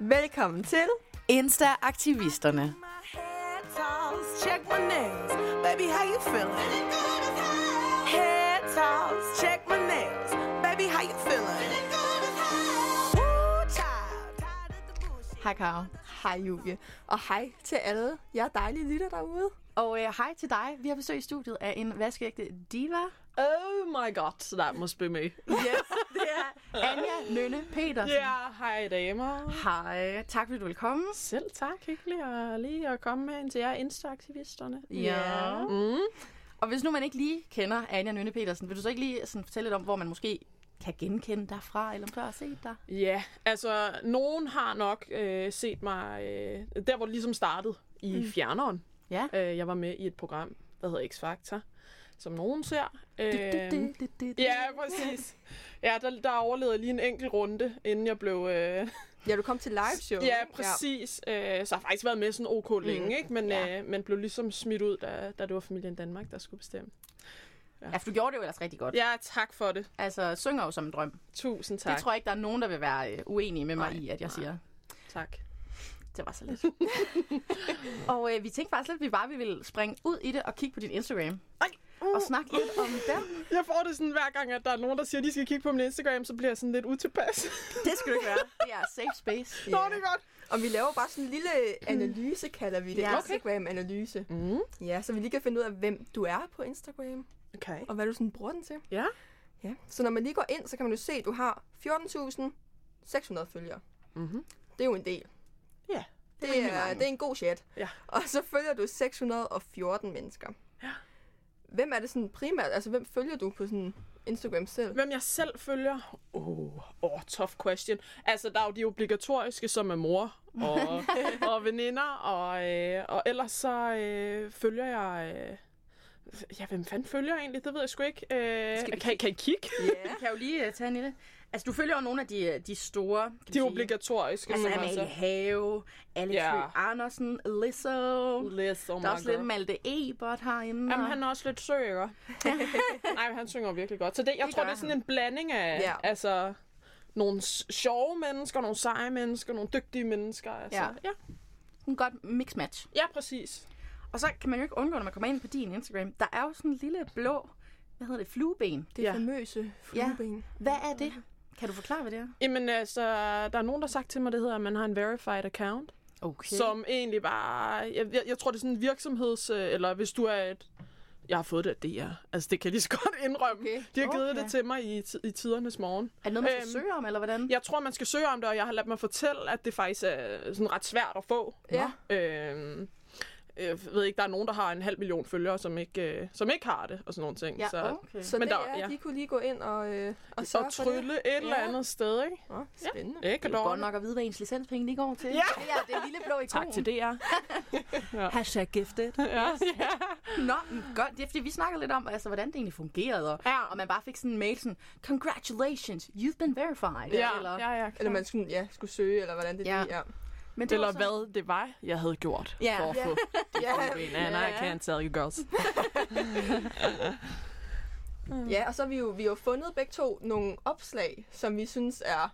Velkommen til. Insta-aktivisterne. My head toss, check my nails. Baby, how you feeling? Head toss, check my nails. Baby, how you feeling? Woo, child, tired of the bullshit. Hej, Karo. Hej Julie. Og hej til alle jer dejlige lytter derude. Og øh, hej til dig. Vi har besøg i studiet af en vaskeægte diva. Oh my god, so that must be me. Yes, det er Anja Nynne Petersen. Ja, hej damer. Hej. Tak fordi du vil komme. Selv tak, hyggeligt at lige at komme med ind til jer Insta-aktivisterne. Ja. Mm. Og hvis nu man ikke lige kender Anja Nynne Petersen, vil du så ikke lige sådan fortælle lidt om, hvor man måske kan genkende dig fra, eller om du har set dig? Ja, altså, nogen har nok øh, set mig øh, der, hvor det ligesom startede i mm. fjerneren. Ja. Øh, jeg var med i et program, der hedder X-Factor, som nogen ser. Øh, ja, præcis. Ja, der, der overlevede jeg lige en enkelt runde, inden jeg blev... Øh, Ja, du kom til live show. Ja, præcis. Ja. Øh, så har jeg faktisk været med sådan ok længe, ikke? Men, Ja. ja. øh, men blev ligesom smidt ud, da, da det var familien Danmark, der skulle bestemme. Ja, for Altså, du gjorde det jo ellers rigtig godt. Ja, tak for det. Altså, synger jo som en drøm. Tusind tak. Det tror jeg ikke, der er nogen, der vil være øh, uenige med mig Nej, i, at jeg nej. siger. Tak. Det var så lidt. og øh, vi tænkte faktisk lidt, at vi bare ville springe ud i det og kigge på din Instagram. Ej, uh. Og snakke lidt om den. Jeg får det sådan hver gang, at der er nogen, der siger, at de skal kigge på min Instagram, så bliver jeg sådan lidt utilpas. Det skal du ikke være. Det er safe space. Yeah. Nå, det er godt. Og vi laver bare sådan en lille analyse, kalder vi det. Ja. Ja. Okay. Instagram-analyse. Mm. Ja, så vi lige kan finde ud af, hvem du er på Instagram, Okay. og hvad du sådan bruger den til. Ja. Ja. Så når man lige går ind, så kan man jo se, at du har 14.600 følgere. Mhm. Det er jo en del. Ja. Det rimelig er, mange. det er en god chat. Ja. Og så følger du 614 mennesker. Ja. Hvem er det sådan primært? Altså, hvem følger du på sådan Instagram selv? Hvem jeg selv følger? Åh, oh, oh, tough question. Altså, der er jo de obligatoriske, som er mor og, og veninder, og, øh, og ellers så øh, følger jeg... Øh, ja, hvem fanden følger jeg egentlig? Det ved jeg sgu ikke. Øh, Skal vi kan, kan I kigge? Ja. Jeg kan jo lige øh, tage en lille... Altså, du følger jo nogle af de, øh, de store... kan man De sige. obligatoriske, Altså, som Amalie Have, Alex Ja. ja. Andersen, Lizzo. Liz, oh Der er også lidt God. Malte Ebert herinde. Jamen, og- han er også lidt søg, ikke? Nej, men han synger virkelig godt. Så det, jeg Det det tror, gør det er sådan han. en blanding af Ja. ja. altså, nogle s- sjove mennesker, nogle seje mennesker, nogle dygtige mennesker. Altså. Ja. Ja. Ja, en godt mix-match. ja, præcis. Og så kan man jo ikke undgå, når man kommer ind på din Instagram, der er jo sådan en lille blå, hvad hedder det, flueben. Det Ja. famøse flueben. Hvad er det? Kan du forklare, hvad det er? Jamen, altså, der er nogen, der har sagt til mig, det hedder, at man har en verified account, Okay. okay. som egentlig bare... Jeg, jeg, jeg tror, det er sådan en virksomheds... øh, Eller hvis du er et... Jeg har fået det af DR. Altså, det kan jeg lige så godt indrømme. Okay. De har givet Okay. okay. det til mig i, ti- i tidernes morgen. er det noget, man skal Øhm, søge om, eller hvordan? Jeg tror, man skal søge om det, og jeg har ladt mig fortælle, at det faktisk er sådan ret svært at få. Ja. Øh, jeg ved ikke, der er nogen, der har en halv million følgere, som ikke, øh, som ikke har det, og sådan nogle ting. Ja, så, okay. Så Men det der- er, ja. de kunne lige gå ind og, øh, og og sørge for det. trylle et eller Ja. andet sted, ikke? Åh, spændende. Ikke Det er jo godt dårligt. nok at vide, hvad ens licenspenge lige går til. Ja. Det er det lille blå ikon. Tak til DR. Hashtag gifted. ja. Nå, men godt. Det er fordi, vi snakkede lidt om, altså, hvordan det egentlig fungerede. Og, Ja. og man bare fik sådan en mail sådan, Congratulations, you've been verified. Ja, Eller, ja, ja, Eller eller, man skulle, ja, skulle søge, eller hvordan det Ja. ja. lige er. men det var eller så- hvad det var, jeg havde gjort Ja. for at Ja. få Ja, yeah. And I can't tell you girls. Mm. ja, og så har vi jo, vi har jo fundet begge to nogle opslag, som vi synes er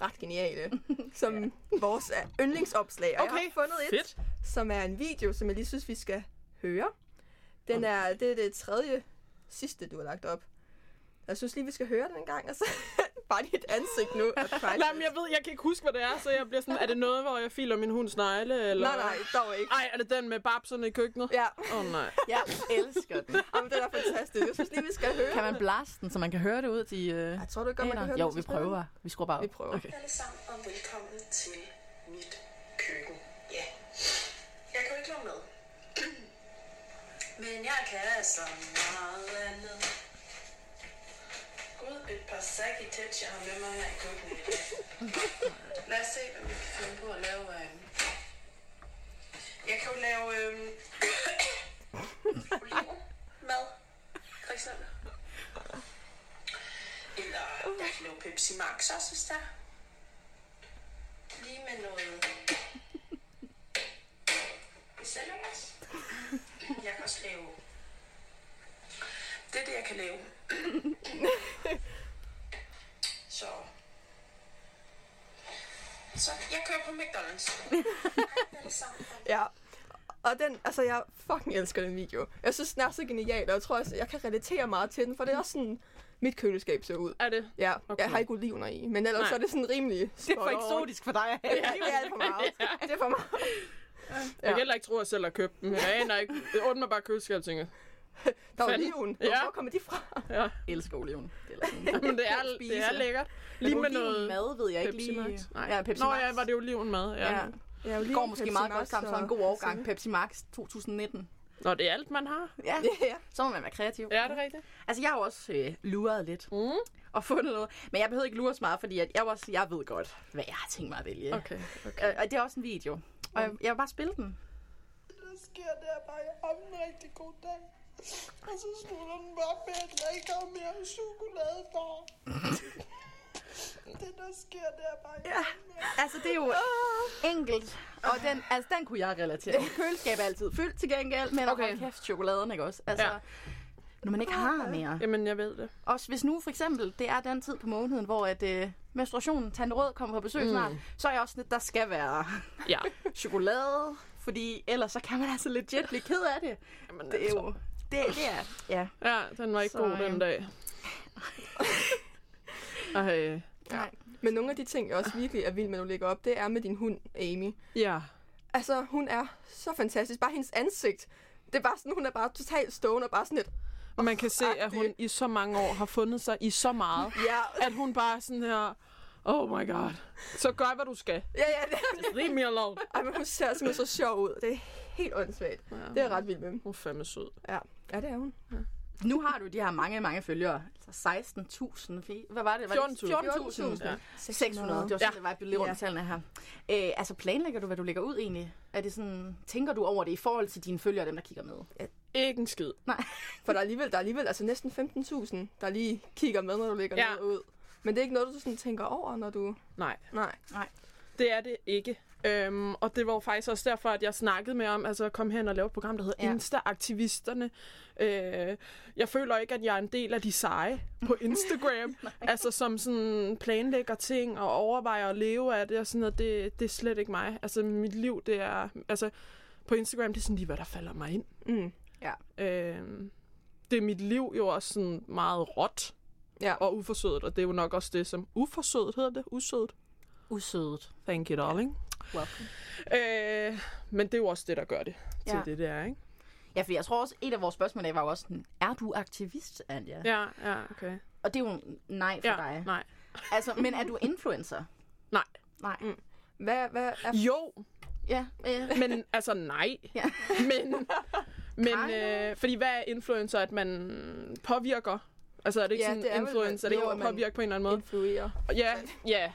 ret geniale. Som vores øh, yndlingsopslag. Og jeg Okay, har fundet et, fedt. som er en video, som jeg lige synes, vi skal høre. Den er, det er det tredje sidste, du har lagt op. Jeg synes lige, vi skal høre den en gang, og så bare dit ansigt nu. er faktisk- Nej, men jeg ved, jeg kan ikke huske, hvad det er, så jeg bliver sådan, er det noget, hvor jeg filer min hunds negle? Eller? nej, nej, dog ikke. Ej, er det den med babserne i køkkenet? Ja, Åh oh, nej. Jeg elsker den. Jamen, den er fantastisk. Jeg synes lige, vi skal høre Kan den. man blaste den, så man kan høre det ud til... Øh... Jeg tror du ikke godt, man kan høre Jo, den, vi hvis man spiller prøver. Vi skruer bare den? op. Vi prøver. Okay. alle sammen, og velkommen til mit køkken. Ja, jeg kan jo ikke lade med. Men jeg kan så meget andet. Gud, et par sæk i tæt, jeg har med mig her i køkkenet i dag. Lad os se, hvad vi kan finde på at lave. øhm. Jeg kan jo lave øhm, oliver mad, for eksempel. Eller jeg kan lave Pepsi Max også, hvis der. er. Lige med noget... Sælgergas. Jeg kan også lave... Det er det, jeg kan lave. Så... Så Jeg kører på McDonald's. Hej alle sammen. Ja. Og den, altså jeg fucking elsker den video. Jeg synes, den er så genial, og jeg tror også, jeg kan relatere meget til den, for det er også sådan, mit køleskab ser ud. Er det? Ja, okay. Okay. jeg har ikke olivner i, men ellers Nej. så er det sådan rimelig Det er for eksotisk for dig. Ja, det er alt for meget. Det er for meget. Jeg kan heller ikke tro, at jeg selv har købt dem. Jeg aner ikke. Jeg åbner bare køleskabet og tænker, Der var Fanden. oliven. Ja. Hvor kommer de fra? ja, Jeg elsker oliven. Det er sådan. men det er, det er Spise. lækkert. Lige med noget mad, ved jeg ikke Pepsi lige. Max. Nej. Ja, Pepsi Nå, Max. ja, var det olivenmad? Ja. Ja. ja. Ja, Det oliven, går måske Pepsi meget Max godt sammen for og- en god årgang. Pepsi Max 2019. Nå, det er alt, man har. Ja, Ja, ja. så må man være kreativ. Ja, er det rigtigt? Altså, jeg har jo også øh, luret lidt Mm. og fundet noget. Men jeg behøver ikke lure så meget, fordi at jeg, jo også, jeg ved godt, hvad jeg har tænkt mig at vælge. Okay, okay. Og, og det er også en video. Og jeg, jeg vil bare spille den. der sker, det er bare, at jeg har haft en rigtig god dag. Og så slutter den bare med, at jeg ikke har mere chokolade, far. det, der sker, det er bare, at jeg har haft en rigtig Altså, det er jo enkelt. Og den, altså, den kunne jeg relatere. Mit køleskab er altid fyldt til gengæld, men okay. hold kæft, chokoladen, ikke også? Altså, Ja. ja. når man ikke har mere. Jamen, jeg ved det. Også hvis nu for eksempel, det er den tid på måneden, hvor at, øh, menstruationen, Tante Rød kommer på besøg mm. snart, så er jeg også sådan lidt, der skal være Ja. chokolade, fordi ellers så kan man altså legit blive ked af det. Jamen, Det er altså. jo... Det, det er... Ja. Ja, den var ikke Så, så, god den øhm. dag. Ej. Men nogle af de ting, jeg også virkelig er vild med, når du lægger op, det er med din hund, Amy. Ja. Altså, hun er så fantastisk. Bare hendes ansigt. Det er bare sådan, hun er bare totalt stående og bare sådan lidt... Og man kan se, at agtig. hun i så mange år har fundet sig i så meget, Ja, at hun bare er sådan her, oh my god, så gør, hvad du skal. ja, ja. Det, Leave me alone. ej, men hun ser simpelthen så sjov ud. Det er helt åndssvagt. Ja. Det er jeg ret vild med. Hun er fandme sød. Ja, ja det er hun. Nu har du de her mange, mange følgere. Altså 16.000. fi- Hvad var det? Var det 14.000. 14.000. Ja. 600. Det var sådan, ja. det var, jeg blev lidt rundt i tallene her. Øh, altså, planlægger du, hvad du lægger ud egentlig? Er det sådan, tænker du over det i forhold til dine følgere og dem, der kigger med? Ikke en skid. For der er alligevel, der er alligevel altså næsten 15.000, der lige kigger med, når du lægger Ja. ja. noget ud. Men det er ikke noget, du sådan tænker over, når du... Nej, Nej. det er det ikke. Øhm, og det var jo faktisk også derfor, at jeg snakkede med om, altså at komme hen og lave et program, der hedder Ja. ja. Insta-aktivisterne. Øh, jeg føler ikke, at jeg er en del af de seje på Instagram, altså som sådan planlægger ting og overvejer at leve af det og sådan noget. Det, det er slet ikke mig. Altså mit liv, det er, altså på Instagram, det er sådan lige, hvad der falder mig ind. Mm. Øh, det er mit liv jo også sådan meget råt Ja. og uforsødet, og det er jo nok også det, som uforsødet hedder det, usødet. Usødet. Thank you, darling. Welcome. Øh, men det er jo også det, der gør det til Ja. det, det er, ikke? Ja, for jeg tror også, et af vores spørgsmål i dag var jo også sådan, er du aktivist, Anja? Ja. Ja, ja, okay. Og det er jo en nej for Ja, ja. dig. Nej. nej. Altså, men er du influencer? Nej. Nej. Mm. Hvad, hvad er... Jo, Ja, øh, men altså nej. Ja. Men, men Kinda. øh, fordi hvad er influencer, at man påvirker? Altså er det ikke Ja, sådan det er vel, influencer, er det man- ikke jo, at man- påvirke på en eller anden måde? Influerer. Ja, ja.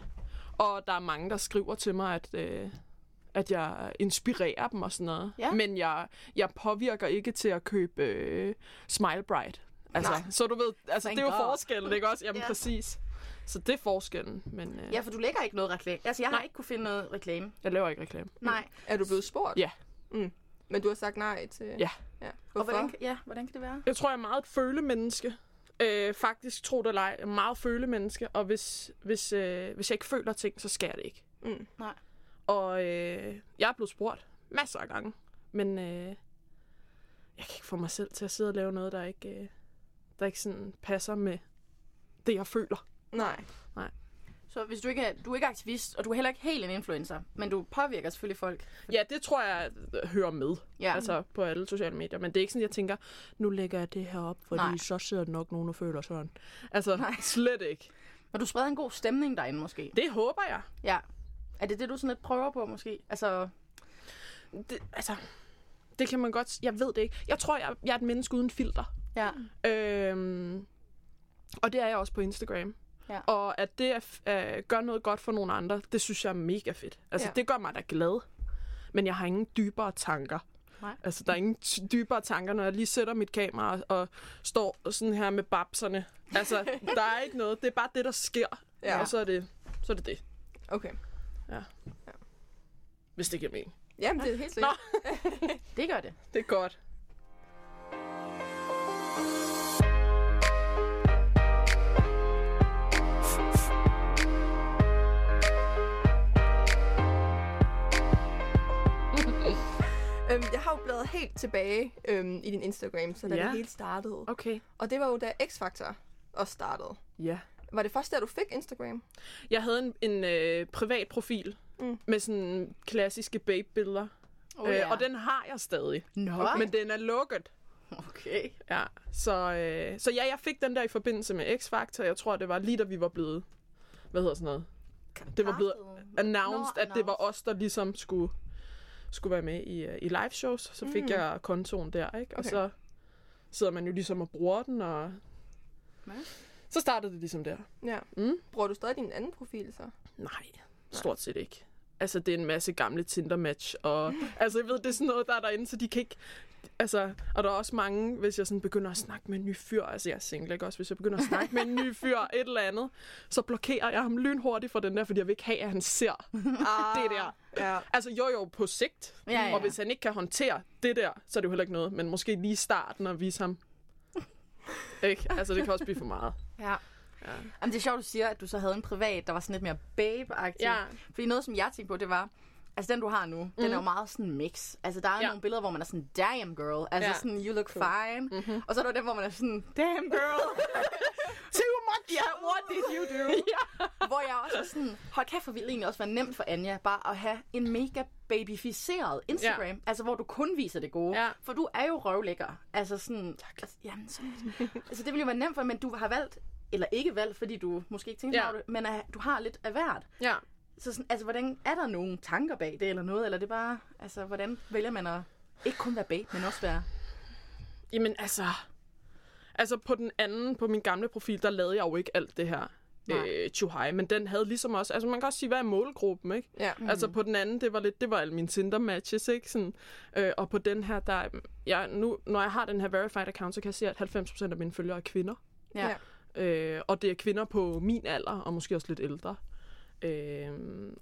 Og der er mange, der skriver til mig, at, øh, at jeg inspirerer dem og sådan noget. Ja. Men jeg, jeg påvirker ikke til at købe øh, Smile Bright. Altså, Nej. Så du ved, altså, Thank det er jo God. forskellen, ikke også? Jamen Ja. ja. præcis. Så det er forskellen, men ja, øh, ja. for du lægger ikke noget reklame. Altså, jeg har ikke kunne finde noget reklame. jeg laver ikke reklame. Nej. Er du blevet spurgt? Ja. Mm. Men du har sagt nej til... Ja. ja. Og Hvorfor? hvordan, kan- ja, hvordan kan det være? Jeg tror, jeg er meget et følemenneske. Øh, faktisk, tro det eller ej, jeg er meget følemenneske. Og hvis, hvis, øh, hvis jeg ikke føler ting, så sker det ikke. Mm. Nej. Og øh, jeg er blevet spurgt masser af gange. Men øh, jeg kan ikke få mig selv til at sidde og lave noget, der ikke, øh, der ikke sådan passer med det, jeg føler. Nej. Så hvis du ikke er, du er ikke aktivist, og du er heller ikke helt en influencer, men du påvirker selvfølgelig folk. Ja, det tror jeg øh, hører med. Ja, altså, Altså på alle sociale medier. Men det er ikke sådan, jeg tænker, nu lægger jeg det her op, fordi Nej. Nej. så sidder der nok nogen og føler sådan. Altså, Nej. slet ikke. men du spreder en god stemning derinde måske. Det håber jeg. Ja. Er det det, du sådan lidt prøver på måske? Altså, det, altså, det kan man godt... s- Jeg ved det ikke. Jeg tror, jeg, jeg er et menneske uden filter. ja. Mm. Øhm, og det er jeg også på Instagram. Ja. Og at det at, at gøre noget godt for nogle andre, det synes jeg er mega fedt. Altså, Ja. ja. det gør mig da glad. Men jeg har ingen dybere tanker. Nej. Altså, der er ingen t- dybere tanker, når jeg lige sætter mit kamera og, og står sådan her med babserne. Altså, der er ikke noget. Det er bare det, der sker. Ja. Og så er det så er det. det Okay. hvis det giver mening. Jamen, det er helt sikkert. Det gør det. Det er godt. Øhm, jeg har jo bladret helt tilbage øhm, i din Instagram, så da Ja. det hele startede. Okay. Og det var jo da X-Factor også startede. Ja. Var det først der, du fik Instagram? Jeg havde en, en øh, privat profil Mm. mm. med sådan klassiske babe-billeder. Oh, ja. øh, og den har jeg stadig. Nå, Men den er lukket. okay. Ja, så, øh, så ja, jeg fik den der i forbindelse med X-Factor. Jeg tror, det var lige da vi var blevet... Hvad hedder sådan noget? Det var blevet announced, Nå, at det var announced. os, der ligesom skulle, skulle være med i, øh, i live shows. Så fik mm. jeg kontoen der, ikke? Og Okay. okay. så sidder man jo ligesom og bruger den, og... Ja. Så startede det ligesom der. Ja. Mm. Bruger du stadig din anden profil så? Nej, stort set ikke. Altså, det er en masse gamle Tinder-match, og altså, jeg ved, det er sådan noget, der er derinde, så de kan ikke... Altså, og der er også mange, hvis jeg sådan begynder at snakke med en ny fyr, altså jeg er single, ikke også? Hvis jeg begynder at snakke med en ny fyr, et eller andet, så blokerer jeg ham lynhurtigt for den der, fordi jeg vil ikke have, at han ser Ah, det der. Ja. Altså jo jo på sigt, Ja, ja. og hvis han ikke kan håndtere det der, så er det jo heller ikke noget, men måske lige i starten at vise ham. ikke? Altså det kan også blive for meget. Ja. ja. Jamen, det er sjovt, du siger, at du så havde en privat, der var sådan lidt mere babe-agtig. Ja. Fordi noget, som jeg tænkte på, det var, altså den, du har nu, mm. den er jo meget sådan mix. Altså, der er ja. Ja. nogle billeder, hvor man er sådan, damn girl. Altså ja. Ja. sådan, you look cool. fine. Mm-hmm. Og så er der den, hvor man er sådan, damn girl. Too much. Yeah, what did you do? ja. Hvor jeg også var sådan, hold kæft, for ville egentlig også være nemt for Anja, bare at have en mega babyficeret Instagram. Ja. Altså, hvor du kun viser det gode. Ja. For du er jo røvlækker. Altså sådan, altså, jamen, sådan Altså, det ville jo være nemt for, men du har valgt, eller ikke valgt, fordi du måske ikke tænkte Ja. ja. over det, men uh, du har lidt af hvert. Ja. Så sådan, altså, hvordan, er der nogle tanker bag det eller noget, eller er det bare, altså, hvordan vælger man at ikke kun være bag, men også være... Jamen altså... Altså på den anden, på min gamle profil, der lavede jeg jo ikke alt det her Nej. øh, tjuhej, men den havde ligesom også... Altså man kan også sige, hvad er målgruppen, ikke? Ja. Mm. Altså på den anden, det var lidt, det var alle mine Tinder-matches, ikke? Sådan, øh, og på den her, der... Jeg, nu, når jeg har den her verified account, så kan jeg se, at 90% af mine følgere er kvinder. Ja. Øh, og det er kvinder på min alder, og måske også lidt ældre. Øh,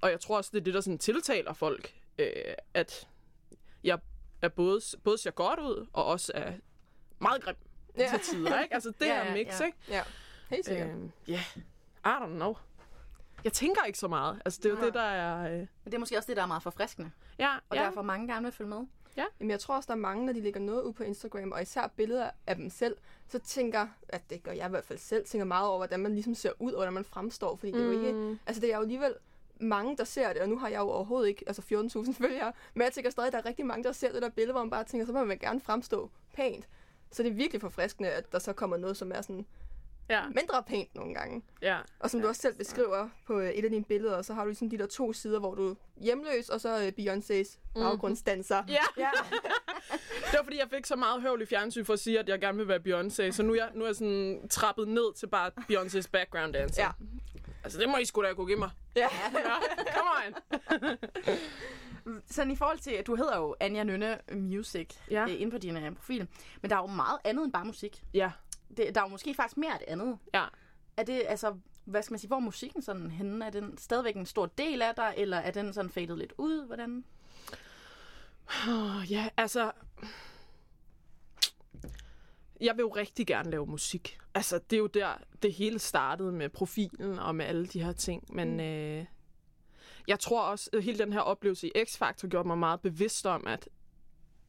og jeg tror også, det er det, der sådan tiltaler folk, øh, at jeg er både, både ser godt ud, og også er meget grim Ja. til tider, ikke? Altså, det Ja, ja, er ja, mix, ja. ja. ikke? ja. Helt Ja, sikkert. øh, yeah. I don't know. Jeg tænker ikke så meget. Altså, det er jo det, der er... Øh, Men det er måske også det, der er meget forfriskende, ja, og ja. ja. derfor mange gerne vil følge med. Jamen, jeg tror også, der er mange, når de lægger noget ud på Instagram, og især billeder af dem selv, så tænker, at det gør jeg i hvert fald selv, tænker meget over, hvordan man ligesom ser ud, og hvordan man fremstår, fordi det er jo ikke, altså det er jo alligevel mange, der ser det, og nu har jeg jo overhovedet ikke, altså 14.000 følgere, men jeg tænker stadig, at der er rigtig mange, der ser det der billede, hvor man bare tænker, så må man gerne fremstå pænt. Så det er virkelig forfriskende, at der så kommer noget, som er sådan ja, mindre pænt nogle gange. ja. Og som ja, du også selv beskriver på øh, et af dine billeder, så har du ligesom de der to sider, hvor du er hjemløs, og så øh, Beyoncé's baggrundsdanser. Ja. ja. det var fordi, jeg fik så meget høvl i fjernsyn for at sige, at jeg gerne vil være Beyoncé. Så nu er jeg, nu er jeg sådan trappet ned til bare Beyoncé's background dancer. Ja. Altså, det må I sgu da kunne give mig. Ja. Ja, come on. Sådan i forhold til, at du hedder jo Anja Nynne Music ja. Ja. øh, inde på din øh, profil, men der er jo meget andet end bare musik. Ja, Det, der er jo måske faktisk mere af det andet. ja. Er det, altså, hvad skal man sige, hvor er musikken sådan henne? Er den stadigvæk en stor del af dig, eller er den sådan fadet lidt ud? Hvordan? Oh, ja, altså... Jeg vil jo rigtig gerne lave musik. Altså, det er jo der, det hele startede med profilen og med alle de her ting. Men mm. øh, jeg tror også, at hele den her oplevelse i X-Factor gjorde mig meget bevidst om, at,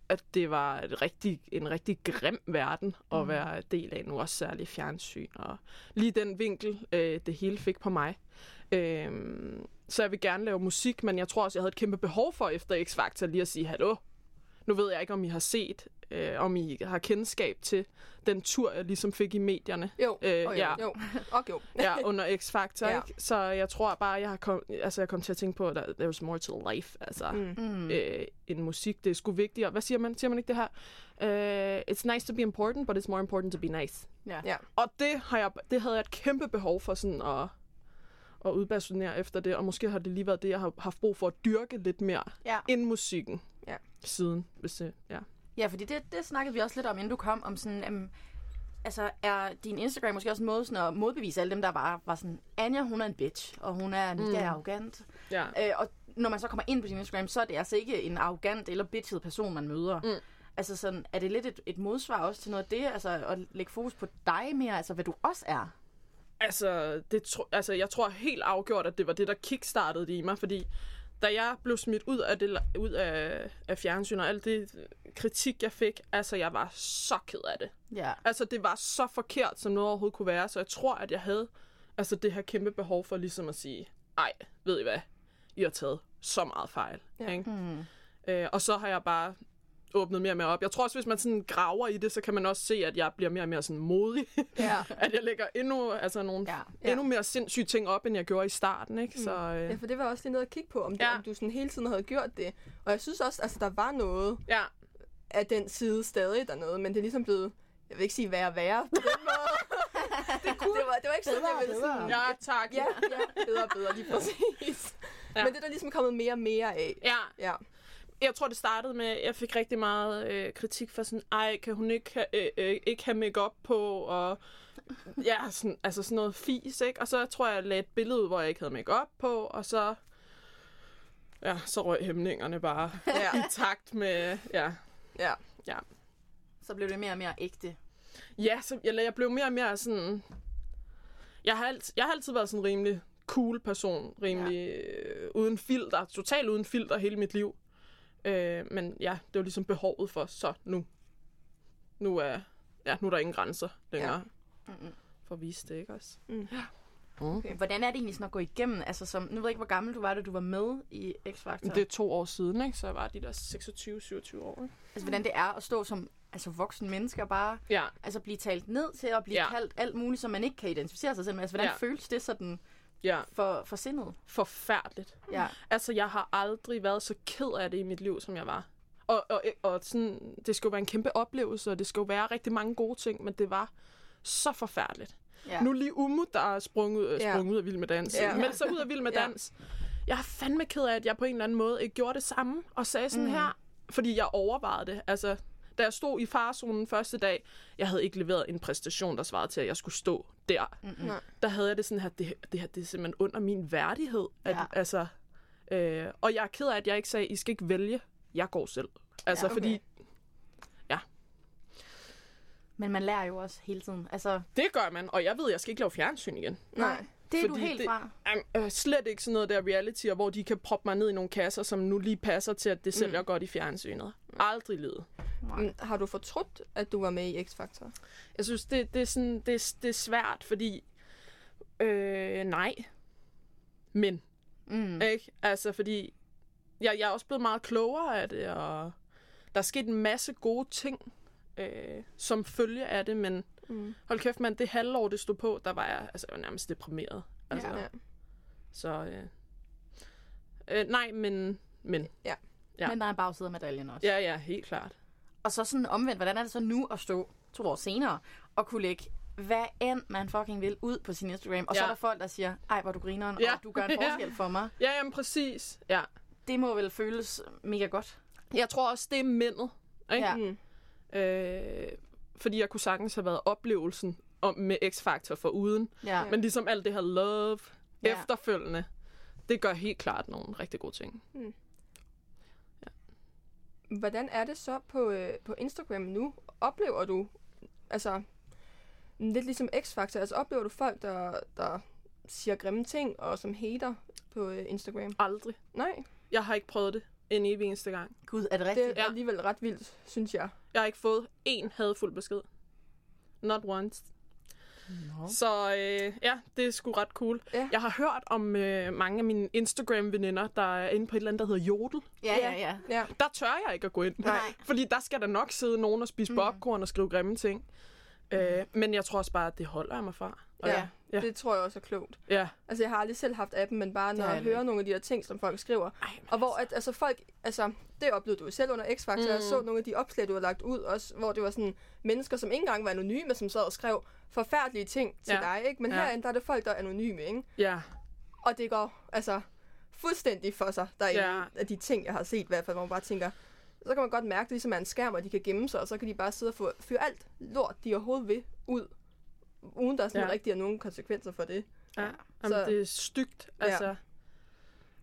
at det var et rigtig, en rigtig grim verden at mm. være del af nu, også særligt fjernsyn. Og lige den vinkel, øh, det hele fik på mig. Øh, så jeg vil gerne lave musik, men jeg tror også, jeg havde et kæmpe behov for efter X-Factor lige at sige, hallo, nu ved jeg ikke, om I har set, øh, om I har kendskab til den tur, jeg ligesom fik i medierne. Jo. Øh, Og jo. ja, Jo, og jo. ja, under X-Factor, Ja. ja. ikke? Så jeg tror bare, jeg har kom, altså, jeg kom til at tænke på, at der- there's more to life, altså. Mm. Mm. Øh, en musik, det er sgu vigtigere. Hvad siger man? Siger man ikke det her? Øh, it's nice to be important, but it's more important to be nice. Ja. Og det, har jeg, det havde jeg et kæmpe behov for sådan at, at udbasonere efter det, og måske har det lige været det, jeg har haft brug for at dyrke lidt mere Ja. end musikken Ja. siden. Hvis det, ja. Ja, fordi det, det snakkede vi også lidt om, inden du kom, om sådan, um, altså er din Instagram måske også en måde sådan at modbevise alle dem, der bare var sådan, Anja, hun er en bitch, og hun er mega mm. arrogant. Ja. Øh, og når man så kommer ind på din Instagram, så er det altså ikke en arrogant eller bitchet person, man møder. Mm. Altså sådan, er det lidt et, et modsvar også til noget af det, altså at lægge fokus på dig mere, altså hvad du også er? Altså, det tro, altså, jeg tror helt afgjort, at det var det, der kickstartede det i mig, fordi da jeg blev smidt ud af, det, la- ud af, af fjernsyn og alt det øh, kritik, jeg fik, altså jeg var så ked af det. Ja. Altså det var så forkert, som noget overhovedet kunne være, så jeg tror, at jeg havde altså, det her kæmpe behov for ligesom at sige, ej, ved I hvad, I har taget så meget fejl. Ja. Ja. Ikke? Mm. Øh, og så har jeg bare åbnet mere og mere op. Jeg tror også, hvis man sådan graver i det, så kan man også se, at jeg bliver mere og mere sådan modig. Ja. at jeg lægger endnu, altså nogle, Ja. ja. endnu mere sindssyge ting op, end jeg gjorde i starten. Ikke? Så, Ja, øh, for det var også lige noget at kigge på, om, det, Ja. om du sådan hele tiden havde gjort det. Og jeg synes også, altså der var noget ja. af den side stadig dernede, men det er ligesom blevet, jeg vil ikke sige værre og værre på den måde. det, kunne, det, var, det var ikke sådan, jeg ville sådan... ja, tak. Ja, ja, bedre og bedre, lige præcis. Ja. Ja. Men det er der ligesom kommet mere og mere af. ja. Ja, jeg tror, det startede med, at jeg fik rigtig meget øh, kritik for sådan, ej, kan hun ikke, ha- øh, øh, ikke have makeup på, og ja, sådan, altså sådan noget fis, ikke? Og så tror jeg, jeg lagde et billede ud, hvor jeg ikke havde makeup på, og så, ja, så røg hæmningerne bare ja, i takt med, ja. ja. Så blev det mere og mere ægte. Ja, så jeg, jeg blev mere og mere sådan... Jeg har, alt, jeg har altid været sådan en rimelig cool person, rimelig øh, uden filter, totalt uden filter hele mit liv. Øh, men ja, det var ligesom behovet for, så nu, nu er, ja, nu er der ingen grænser længere. Ja. For at vise det, ikke også? Okay. Hvordan er det egentlig sådan at gå igennem? Altså, som, nu ved jeg ikke, hvor gammel du var, da du var med i X-Factor. Det er to år siden, ikke? Så jeg var de der 26-27 år. ikke? Altså, hvordan det er at stå som altså, voksen menneske og bare Ja, altså, blive talt ned til og blive ja. Ja. kaldt alt muligt, som man ikke kan identificere sig selv med. Altså, hvordan ja. Ja. føles det sådan ja. for, for sindet? Forfærdeligt. Ja. Altså, jeg har aldrig været så ked af det i mit liv, som jeg var. Og, og, og sådan, det skulle være en kæmpe oplevelse, og det skulle være rigtig mange gode ting, men det var så forfærdeligt. ja. Ja. Nu lige Umu, der er sprunget, øh, Ja. sprunget ud af Vild med Dans. Ja. Ja. Men så ud af Vild med Ja. Dans. Jeg er fandme ked af, at jeg på en eller anden måde ikke gjorde det samme, og sagde sådan mm. her, fordi jeg overvejede det. Altså, da jeg stod i farzonen første dag, jeg havde ikke leveret en præstation, der svarede til, at jeg skulle stå der. Mm-hmm. Nej. Der havde jeg det sådan her, det, det her det er simpelthen under min værdighed. At, Ja. ja. altså, øh, og jeg er ked af, at jeg ikke sagde, I skal ikke vælge, jeg går selv. Altså, Ja, ja, okay. okay. fordi Men man lærer jo også hele tiden. Altså, det gør man, og jeg ved, jeg skal ikke lave fjernsyn igen. Nej. det er Fordi du helt det- fra. Jamen, øh, slet ikke sådan noget der reality, og hvor de kan proppe mig ned i nogle kasser, som nu lige passer til, at det sælger mm. godt i fjernsynet. Aldrig ledet. Men har du fortrudt, at du var med i X-Factor? Jeg synes, det, det, er, sådan, det, er- det er svært, fordi... Øh, nej. Men. Mm. Ikke? Altså, fordi... Jeg, jeg er også blevet meget klogere af det, og... Der er sket en masse gode ting, øh, som følge af det, men... Mm. Hold kæft, mand, det halvår, det stod på, der var jeg, altså, jeg var nærmest deprimeret. Altså, Ja. Så... Øh, øh, nej, men... Men. Ja. Ja. Men der er en bagside af medaljen også. Ja, ja, helt klart. Og så sådan omvendt, hvordan er det så nu at stå to år senere og kunne lægge hvad end man fucking vil ud på sin Instagram. Og ja. så er Ja. der folk, der siger, ej, hvor er du grineren, ja. Ja. og du gør en Ja. forskel for mig. Ja, jamen præcis. Ja. Det må vel føles mega godt. Jeg tror også, det er mændet. Ikke? Ja. Mm. Øh, fordi jeg kunne sagtens have været oplevelsen om, med X-Factor for uden. Ja. Men ligesom alt det her love Ja. ja. efterfølgende, det gør helt klart nogle rigtig gode ting. Hvordan er det så på, øh, på Instagram nu? Oplever du, altså lidt ligesom X-Factor, altså oplever du folk, der, der siger grimme ting og som hater på øh, Instagram? Aldrig. Nej, Jeg har ikke prøvet det en evig eneste gang. Gud, er det rigtigt? det Det... er Altså, Ja. alligevel ret vildt, synes jeg. Jeg har ikke fået én hadfuld besked. Not once. No. Så øh, ja, det er sgu ret cool. Ja. Jeg har hørt om øh, mange af mine Instagram-veninder, der er inde på et eller andet, der hedder Jodel. Ja, ja, ja. Ja, der tør jeg ikke at gå ind. Nej. Mhm. Fordi der skal der nok sidde nogen og spise popcorn og skrive grimme ting. Øh, men jeg tror også bare, at det holder jeg mig fra. Og ja. ja. Ja. det tror jeg også er klogt. ja. Altså jeg har aldrig selv haft appen, men bare når har jeg jeg heller hører nogle af de der ting, som folk skriver. Og hvor at, altså folk, altså det oplevede du jo selv under X-Factor, mm. jeg så nogle af de opslag, du har lagt ud også, hvor det var sådan mennesker, som ikke engang var anonyme, som sad og skrev forfærdelige ting til Ja. dig, ikke? Men ja. Ja. herinde, der er det folk, der er anonyme, ikke? ja. Og det går altså fuldstændig for sig, der er ja. Ja. en af de ting, jeg har set i hvert fald, hvor man bare tænker, så kan man godt mærke, at det ligesom er en skærm, og de kan gemme sig, og så kan de bare sidde og få- fyre alt lort, de overhovedet vil, ud, uden der sådan Ja. ja. rigtig er nogen konsekvenser for det. ja. Jamen, Så- det er stygt. Altså, ja.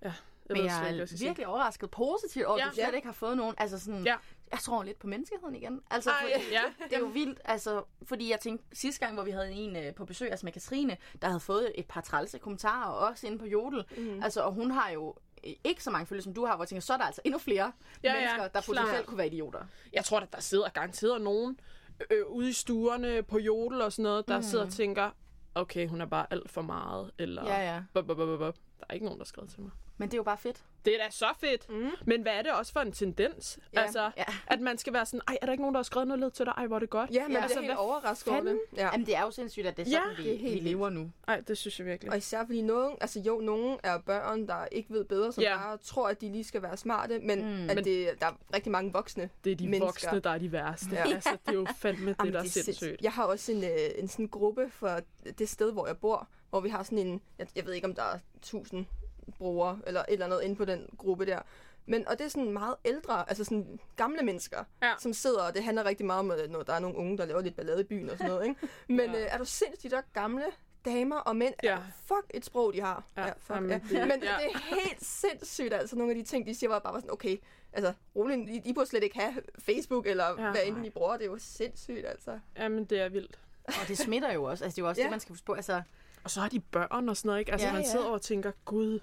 ja. Jeg Men ved jeg slet er ikke, hvad jeg skal sige. virkelig overrasket positivt over, at Ja. du slet Ja. ikke har fået nogen. Altså sådan, Ja. jeg tror lidt på menneskeheden igen. Altså, Ej, fordi, ja. det er jo vildt. Altså, fordi jeg tænkte, sidste gang, hvor vi havde en øh, på besøg, altså med Katrine, der havde fået et par trælse kommentarer, og også inde på Jodel. Mm. Altså, og hun har jo ikke så mange følger, som du har, hvor jeg tænker, så er der altså endnu flere Ja, ja, ja, mennesker, der klart. potentielt kunne være idioter. Jeg tror, at der sidder garanteret nogen øh, ude i stuerne på jodel og sådan noget, der mm. sidder og tænker, okay, hun er bare alt for meget, eller... Mhm. Ja, ja. Bop, bop, bop, bop, bop. Der er ikke nogen, der har skrevet til mig. Men det er jo bare fedt. Det er da så fedt. Mm. Men hvad er det også for en tendens? Ja, altså, ja. at man skal være sådan, ej, er der ikke nogen, der har skrevet noget led til dig? Ej, hvor er det godt. Ja, man Ja. ja, Altså, bliver helt hvad overrasket over det. Ja. Jamen, det er jo sindssygt, at det er Ja, sådan, ja, vi, det er helt vi vildt. lever nu. Ej, det synes jeg virkelig. Og især fordi nogen, altså jo, nogen er børn, der ikke ved bedre, som Ja. yeah. bare tror, at de lige skal være smarte, men mm. at Men- det, der er rigtig mange voksne Det er de mennesker. voksne, der er de værste. Ja. Altså, det er jo fandme det, Jamen, der er sindssygt. sindssygt. Jeg har også en, øh, en sådan gruppe for det sted, hvor jeg bor, hvor vi har sådan en, jeg, jeg ved ikke, om der er 1000 brugere eller et eller andet inde på den gruppe der. Men, og det er sådan meget ældre, altså sådan gamle mennesker, Ja. som sidder, og det handler rigtig meget om, at når der er nogle unge, der laver lidt ballade i byen og sådan noget, ikke? Men Ja. ja. øh, er du sindssygt, de der gamle damer og mænd, Ja. ja. fuck et sprog, de har. Ja, Ja, fuck, jamen, ja. det- Men det ja. er helt sindssygt, altså nogle af de ting, de siger, var bare var sådan, okay, altså, rolig, I, I burde slet ikke have Facebook, eller Ja. ja. hvad enten I bruger, det er jo sindssygt, altså. Jamen, det er vildt. Og det smitter jo også. Altså, det er jo også ja. Ja. det, man skal huske på. Altså, Og så har de børn og sådan noget, ikke? Altså, ja, Ja, man ja. sidder og tænker, gud,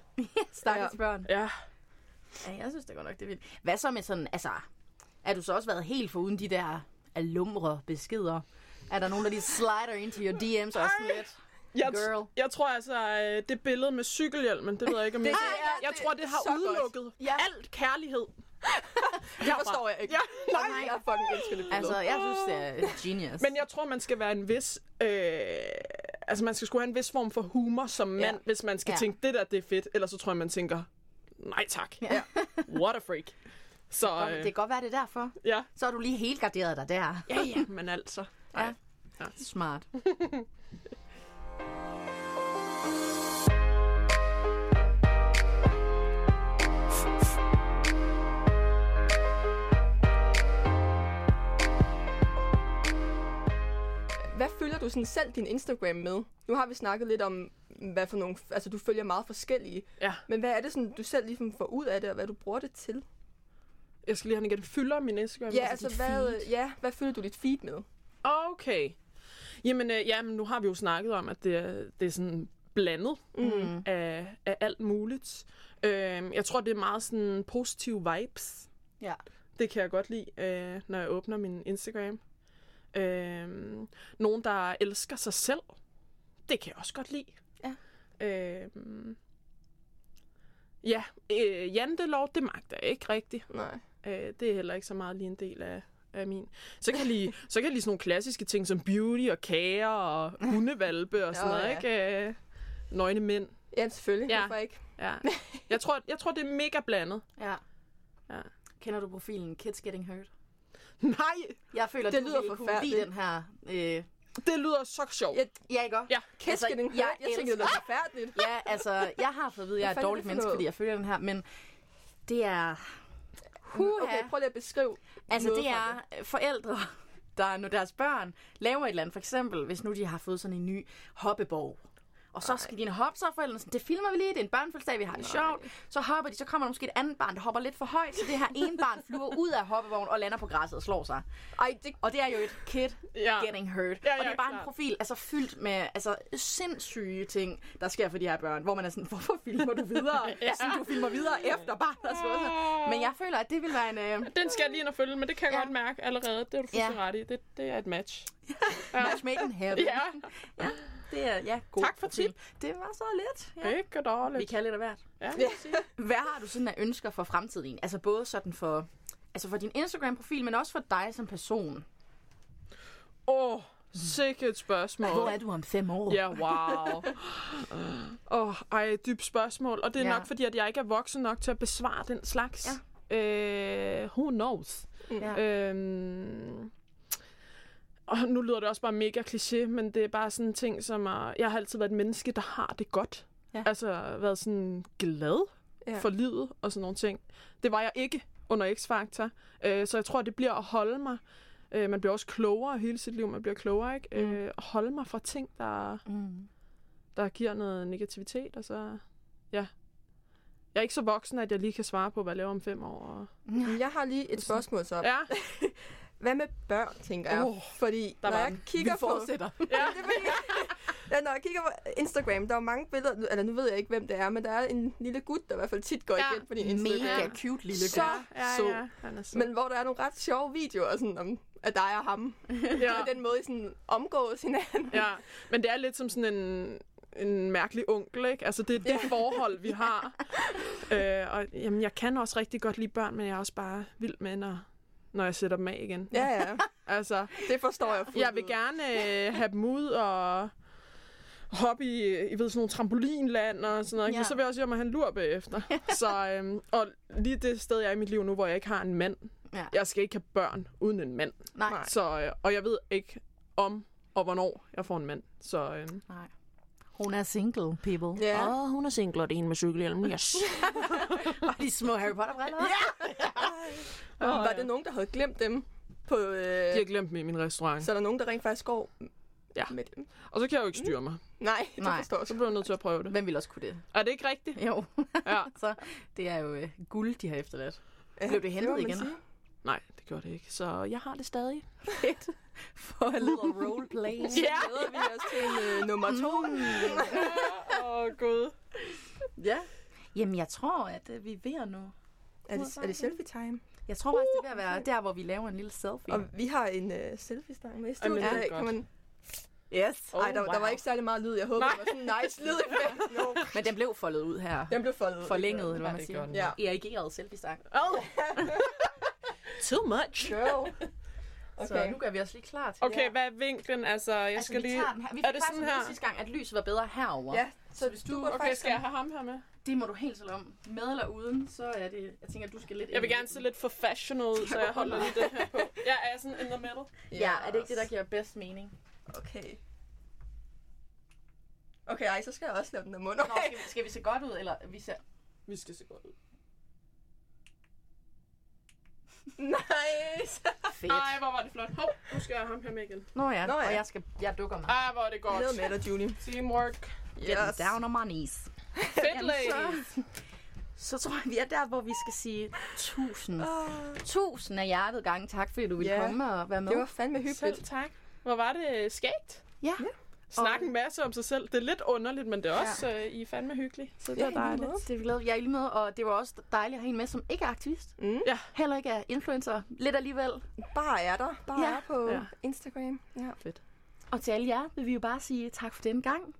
stakkels Ja. børn. ja. Ja, jeg synes det godt nok, det er vildt. Hvad så med sådan, altså, er du så også været helt foruden de der alumre beskeder? Er der nogen, der lige slider ind til your DM's og sådan lidt? Jeg, Girl. jeg tror altså, øh, det billede med cykelhjelmen, det ved jeg ikke, om jeg... det er- jeg det tror, er det har så godt. udelukket Ja. alt kærlighed. Det forstår jeg ikke. Ja, Nej, nej. Jeg fucking elsker det billede. Altså, jeg synes, det er genius. Men jeg tror, man skal være en vis... Øh, altså, man skal skulle have en vis form for humor som mand, ja. hvis man skal ja. Ja. tænke, det der, det er fedt. Ellers så tror jeg, man tænker, nej tak. Ja. What a freak. Så det øh, kan godt være, det er derfor. ja. Så har du lige helt garderet dig der. Ja, ja, men altså. Ja. Smart. Hvad følger du sådan selv din Instagram med? Nu har vi snakket lidt om, hvad for nogle... Altså, du følger meget forskellige. Ja. Men hvad er det, sådan, du selv ligesom får ud af det, og hvad du bruger det til? Jeg skal lige have den igen. Fylder min Instagram? Ja, altså, dit hvad, feed. ja, hvad følger du dit feed med? Okay. Jamen, øh, jamen, nu har vi jo snakket om, at det, er- det er sådan blandet mm. af, af alt muligt. Øh, jeg tror, det er meget sådan positive vibes. Ja. Det kan jeg godt lide, øh, når jeg åbner min Instagram. Øh, nogen, der elsker sig selv. Det kan jeg også godt lide. Ja. Øh, ja, øh, jantelov, det magter jeg ikke rigtigt. Nej. Øh, det er heller ikke så meget lige en del af, af min. Så kan, jeg lige, så kan jeg lige sådan nogle klassiske ting som beauty og kager og hundevalpe og sådan Nå, noget, ja. ikke? Øh, nøgne mænd. Ja, selvfølgelig. Ja. Ja. Hvorfor ikke? Ja. Jeg, tror, jeg tror, det er mega blandet. Ja. Ja. Kender du profilen Kids Getting Hurt? Nej, Jeg føler, Det du lyder ville kunne forfærdeligt. lide den her... Øh... det lyder så sjovt. Ja, Ja, ikke også? Ja. Kæske altså, den jeg jeg, jeg tænkte, det var forfærdeligt. Ja, altså, jeg har fået at vide, at jeg er Hvad fanden et er dårligt det for menneske, noget? fordi jeg følger den her, men det er... Huha. Okay, prøv lige at beskrive Altså, noget det fra er øh, forældre, der når deres børn laver et eller andet. For eksempel, hvis nu de har fået sådan en ny hoppeborg. Og så skal de hoppe, så er forældrene sådan, det filmer vi lige, det er en børnefødselsdag, vi har det sjovt. Så hopper de, så kommer der måske et andet barn, der hopper lidt for højt, så det her ene barn flyver ud af hoppevognen og lander på græsset og slår sig. Ej, det, Og det er jo et kid Ja. getting hurt. Ja, og ja, det er bare klart. en profil, altså fyldt med altså, sindssyge ting, der sker for de her børn, hvor man er sådan, hvorfor filmer du videre? ja. Sådan, du filmer videre efter barnet har slået sig. Men jeg føler, at det vil være en... Øh, Den skal jeg lige ind og følge, men det kan jeg ja. Ja. godt mærke allerede. Det er du fuldstændig Ja. ret i. Det, det er et match. match made in heaven. Ja, Det er, ja, god Tak for profil. Det var så lidt. Ja. ikke Vi dårligt. kan lidt af hvert. Ja. Hvad har du sådan af ønsker for fremtiden? Altså både sådan for, altså for din Instagram-profil, men også for dig som person. Åh, oh, sikkert et spørgsmål. Hvor er du om fem år? Ja, wow. Åh, oh, ej, dybt spørgsmål. Og det er ja. Ja. nok fordi, at jeg ikke er voksen nok til at besvare den slags. Ja. Mm. Øh, who knows? Ja. Øhm, og nu lyder det også bare mega kliché, men det er bare sådan en ting, som er... Jeg har altid været et menneske, der har det godt. Ja. Ja. Altså været sådan glad ja. Ja. for livet og sådan nogle ting. Det var jeg ikke under X-Factor. Øh, så jeg tror, det bliver at holde mig... Øh, man bliver også klogere hele sit liv. Man bliver klogere, ikke? Mm. Øh, at holde mig fra ting, der, mm. der giver noget negativitet. Og så... Ja. Jeg er ikke så voksen, at jeg lige kan svare på, hvad jeg laver om fem år. Og... Men jeg har lige et spørgsmål så. Ja, Hvad med børn, tænker jeg? Åh, Fordi var når jeg den. kigger Vi på... fortsætter. Ja. Det er fordi, Ja, når jeg kigger på Instagram, der er mange billeder, nu- eller nu ved jeg ikke, hvem det er, men der er en lille gut, der i hvert fald tit går Ja, igen på din Instagram. Mega Ja. cute lille Så- gut. Ja, Så. ja, han er så. Men hvor der er nogle ret sjove videoer sådan om, at dig og ham. ja. På den måde, I sådan omgås hinanden. Ja, men det er lidt som sådan en, en mærkelig onkel, ikke? Altså, det er det forhold, vi har. øh, og jamen, jeg kan også rigtig godt lide børn, men jeg er også bare vild med, når, når jeg sætter dem af igen. Ja, ja. Altså, Det forstår jeg fuldt jeg vil ud. gerne øh, have dem ud og hoppe i, øh, I ved, sådan nogle trampolinland og sådan noget. Ja. Ja. Men så vil jeg også hjem og have en lur bagefter. så, øhm, og lige det sted, jeg er i mit liv nu, hvor jeg ikke har en mand. Ja. Jeg skal ikke have børn uden en mand. Nej. Nej. Så, øh, og jeg ved ikke om og hvornår jeg får en mand. Så øh, Nej. Hun er single, people. Ja. Og hun er single, og det er en med cykelhjelm. Yes. Og de små Harry Potter-briller. Ja. Var det nogen, der havde glemt dem? På, øh, de har glemt dem i min restaurant. Så er der nogen, der rent faktisk går Ja. med dem? Og så kan jeg jo ikke styre mig. Nej, det Nej. forstår jeg. Så bliver jeg nødt til at prøve det. Hvem ville også kunne det? Er det ikke rigtigt? Jo. Ja. Så det er jo øh, guld, de har efterladt. Ja, Blev det hentet må man igen? sige. Nej, det gjorde det ikke. Så jeg har det stadig. Fedt. For a little roleplay. Ja. Glæder vi os til øh, nummer to. Åh, oh, gud. ja. Jamen, jeg tror, at øh, vi er ved at nå. Er det, er det selfie time? Jeg tror faktisk, det er ved Uh, at være der, hvor vi laver en lille selfie. Og vi har en øh, selfie-stang med i studiet. det er i dag. Kan godt. man... Yes. Ej, der, der var ikke særlig meget lyd. Jeg håber, Nej. det var sådan en nice lyd. no. Men den blev foldet ud her. Den blev foldet. ud. Forlænget, eller hvad man det siger. gør den. Ja. Erigeret selfie-stang. Too much. No. Så nu gør vi os lige klar til Okay, det hvad er vinklen? Altså, jeg Altså, skal vi lige... tager den her. Vi er fik det faktisk sådan at vide her? sidste gang, at lyset var bedre herover. Ja, så hvis du... Okay, skal jeg have ham her med? Det må du helt selv om. Med eller uden, så er det... Jeg tænker, du skal lidt... Jeg vil ind i gerne midten. se lidt for fashion ud, så jeg holder lige det her på. Jeg er sådan in the middle. Ja, er det ikke det, der giver bedst mening? Okay. Okay, ej, så skal jeg også lave den der mund. Nå, Okay. skal, vi, skal vi se godt ud, eller vi ser... Vi skal se godt ud. Nice. Fedt. Ej, hvor var det flot. Hov, nu skal jeg have ham her med igen. Nå ja, Nå ja. og jeg, skal, jeg dukker mig. Ej, hvor er det godt. Ned med dig, Julie. Teamwork. Yes. Down on my knees. Fedt, ladies. Så tror jeg, vi er der, hvor vi skal sige tusind. Tusind af hjertet gange tak, fordi du ville Ja. komme og være med. Det var fandme hyggeligt. Selv tak. Hvor var det skægt? Ja. Snakke en masse om sig selv. Det er lidt underligt, men det er også, ja. øh, I er fandme hyggelige. Så det Ja, er i lige dejligt. måde. Det er vi glade. Jeg er lige med, og det var også dejligt at have en med, som ikke er aktivist. Mm. Ja. Heller ikke er influencer. Lidt alligevel. Bare er der. Bare Ja. er på Ja. Instagram. Ja. Og til alle jer vil vi jo bare sige tak for denne gang.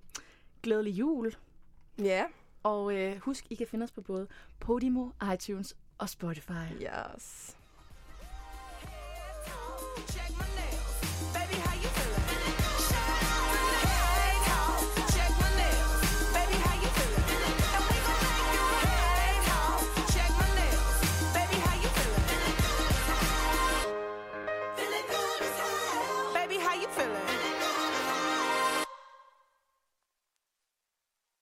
Glædelig jul. Ja. Og øh, husk, I kan finde os på både Podimo, iTunes og Spotify. Yes. Check my name.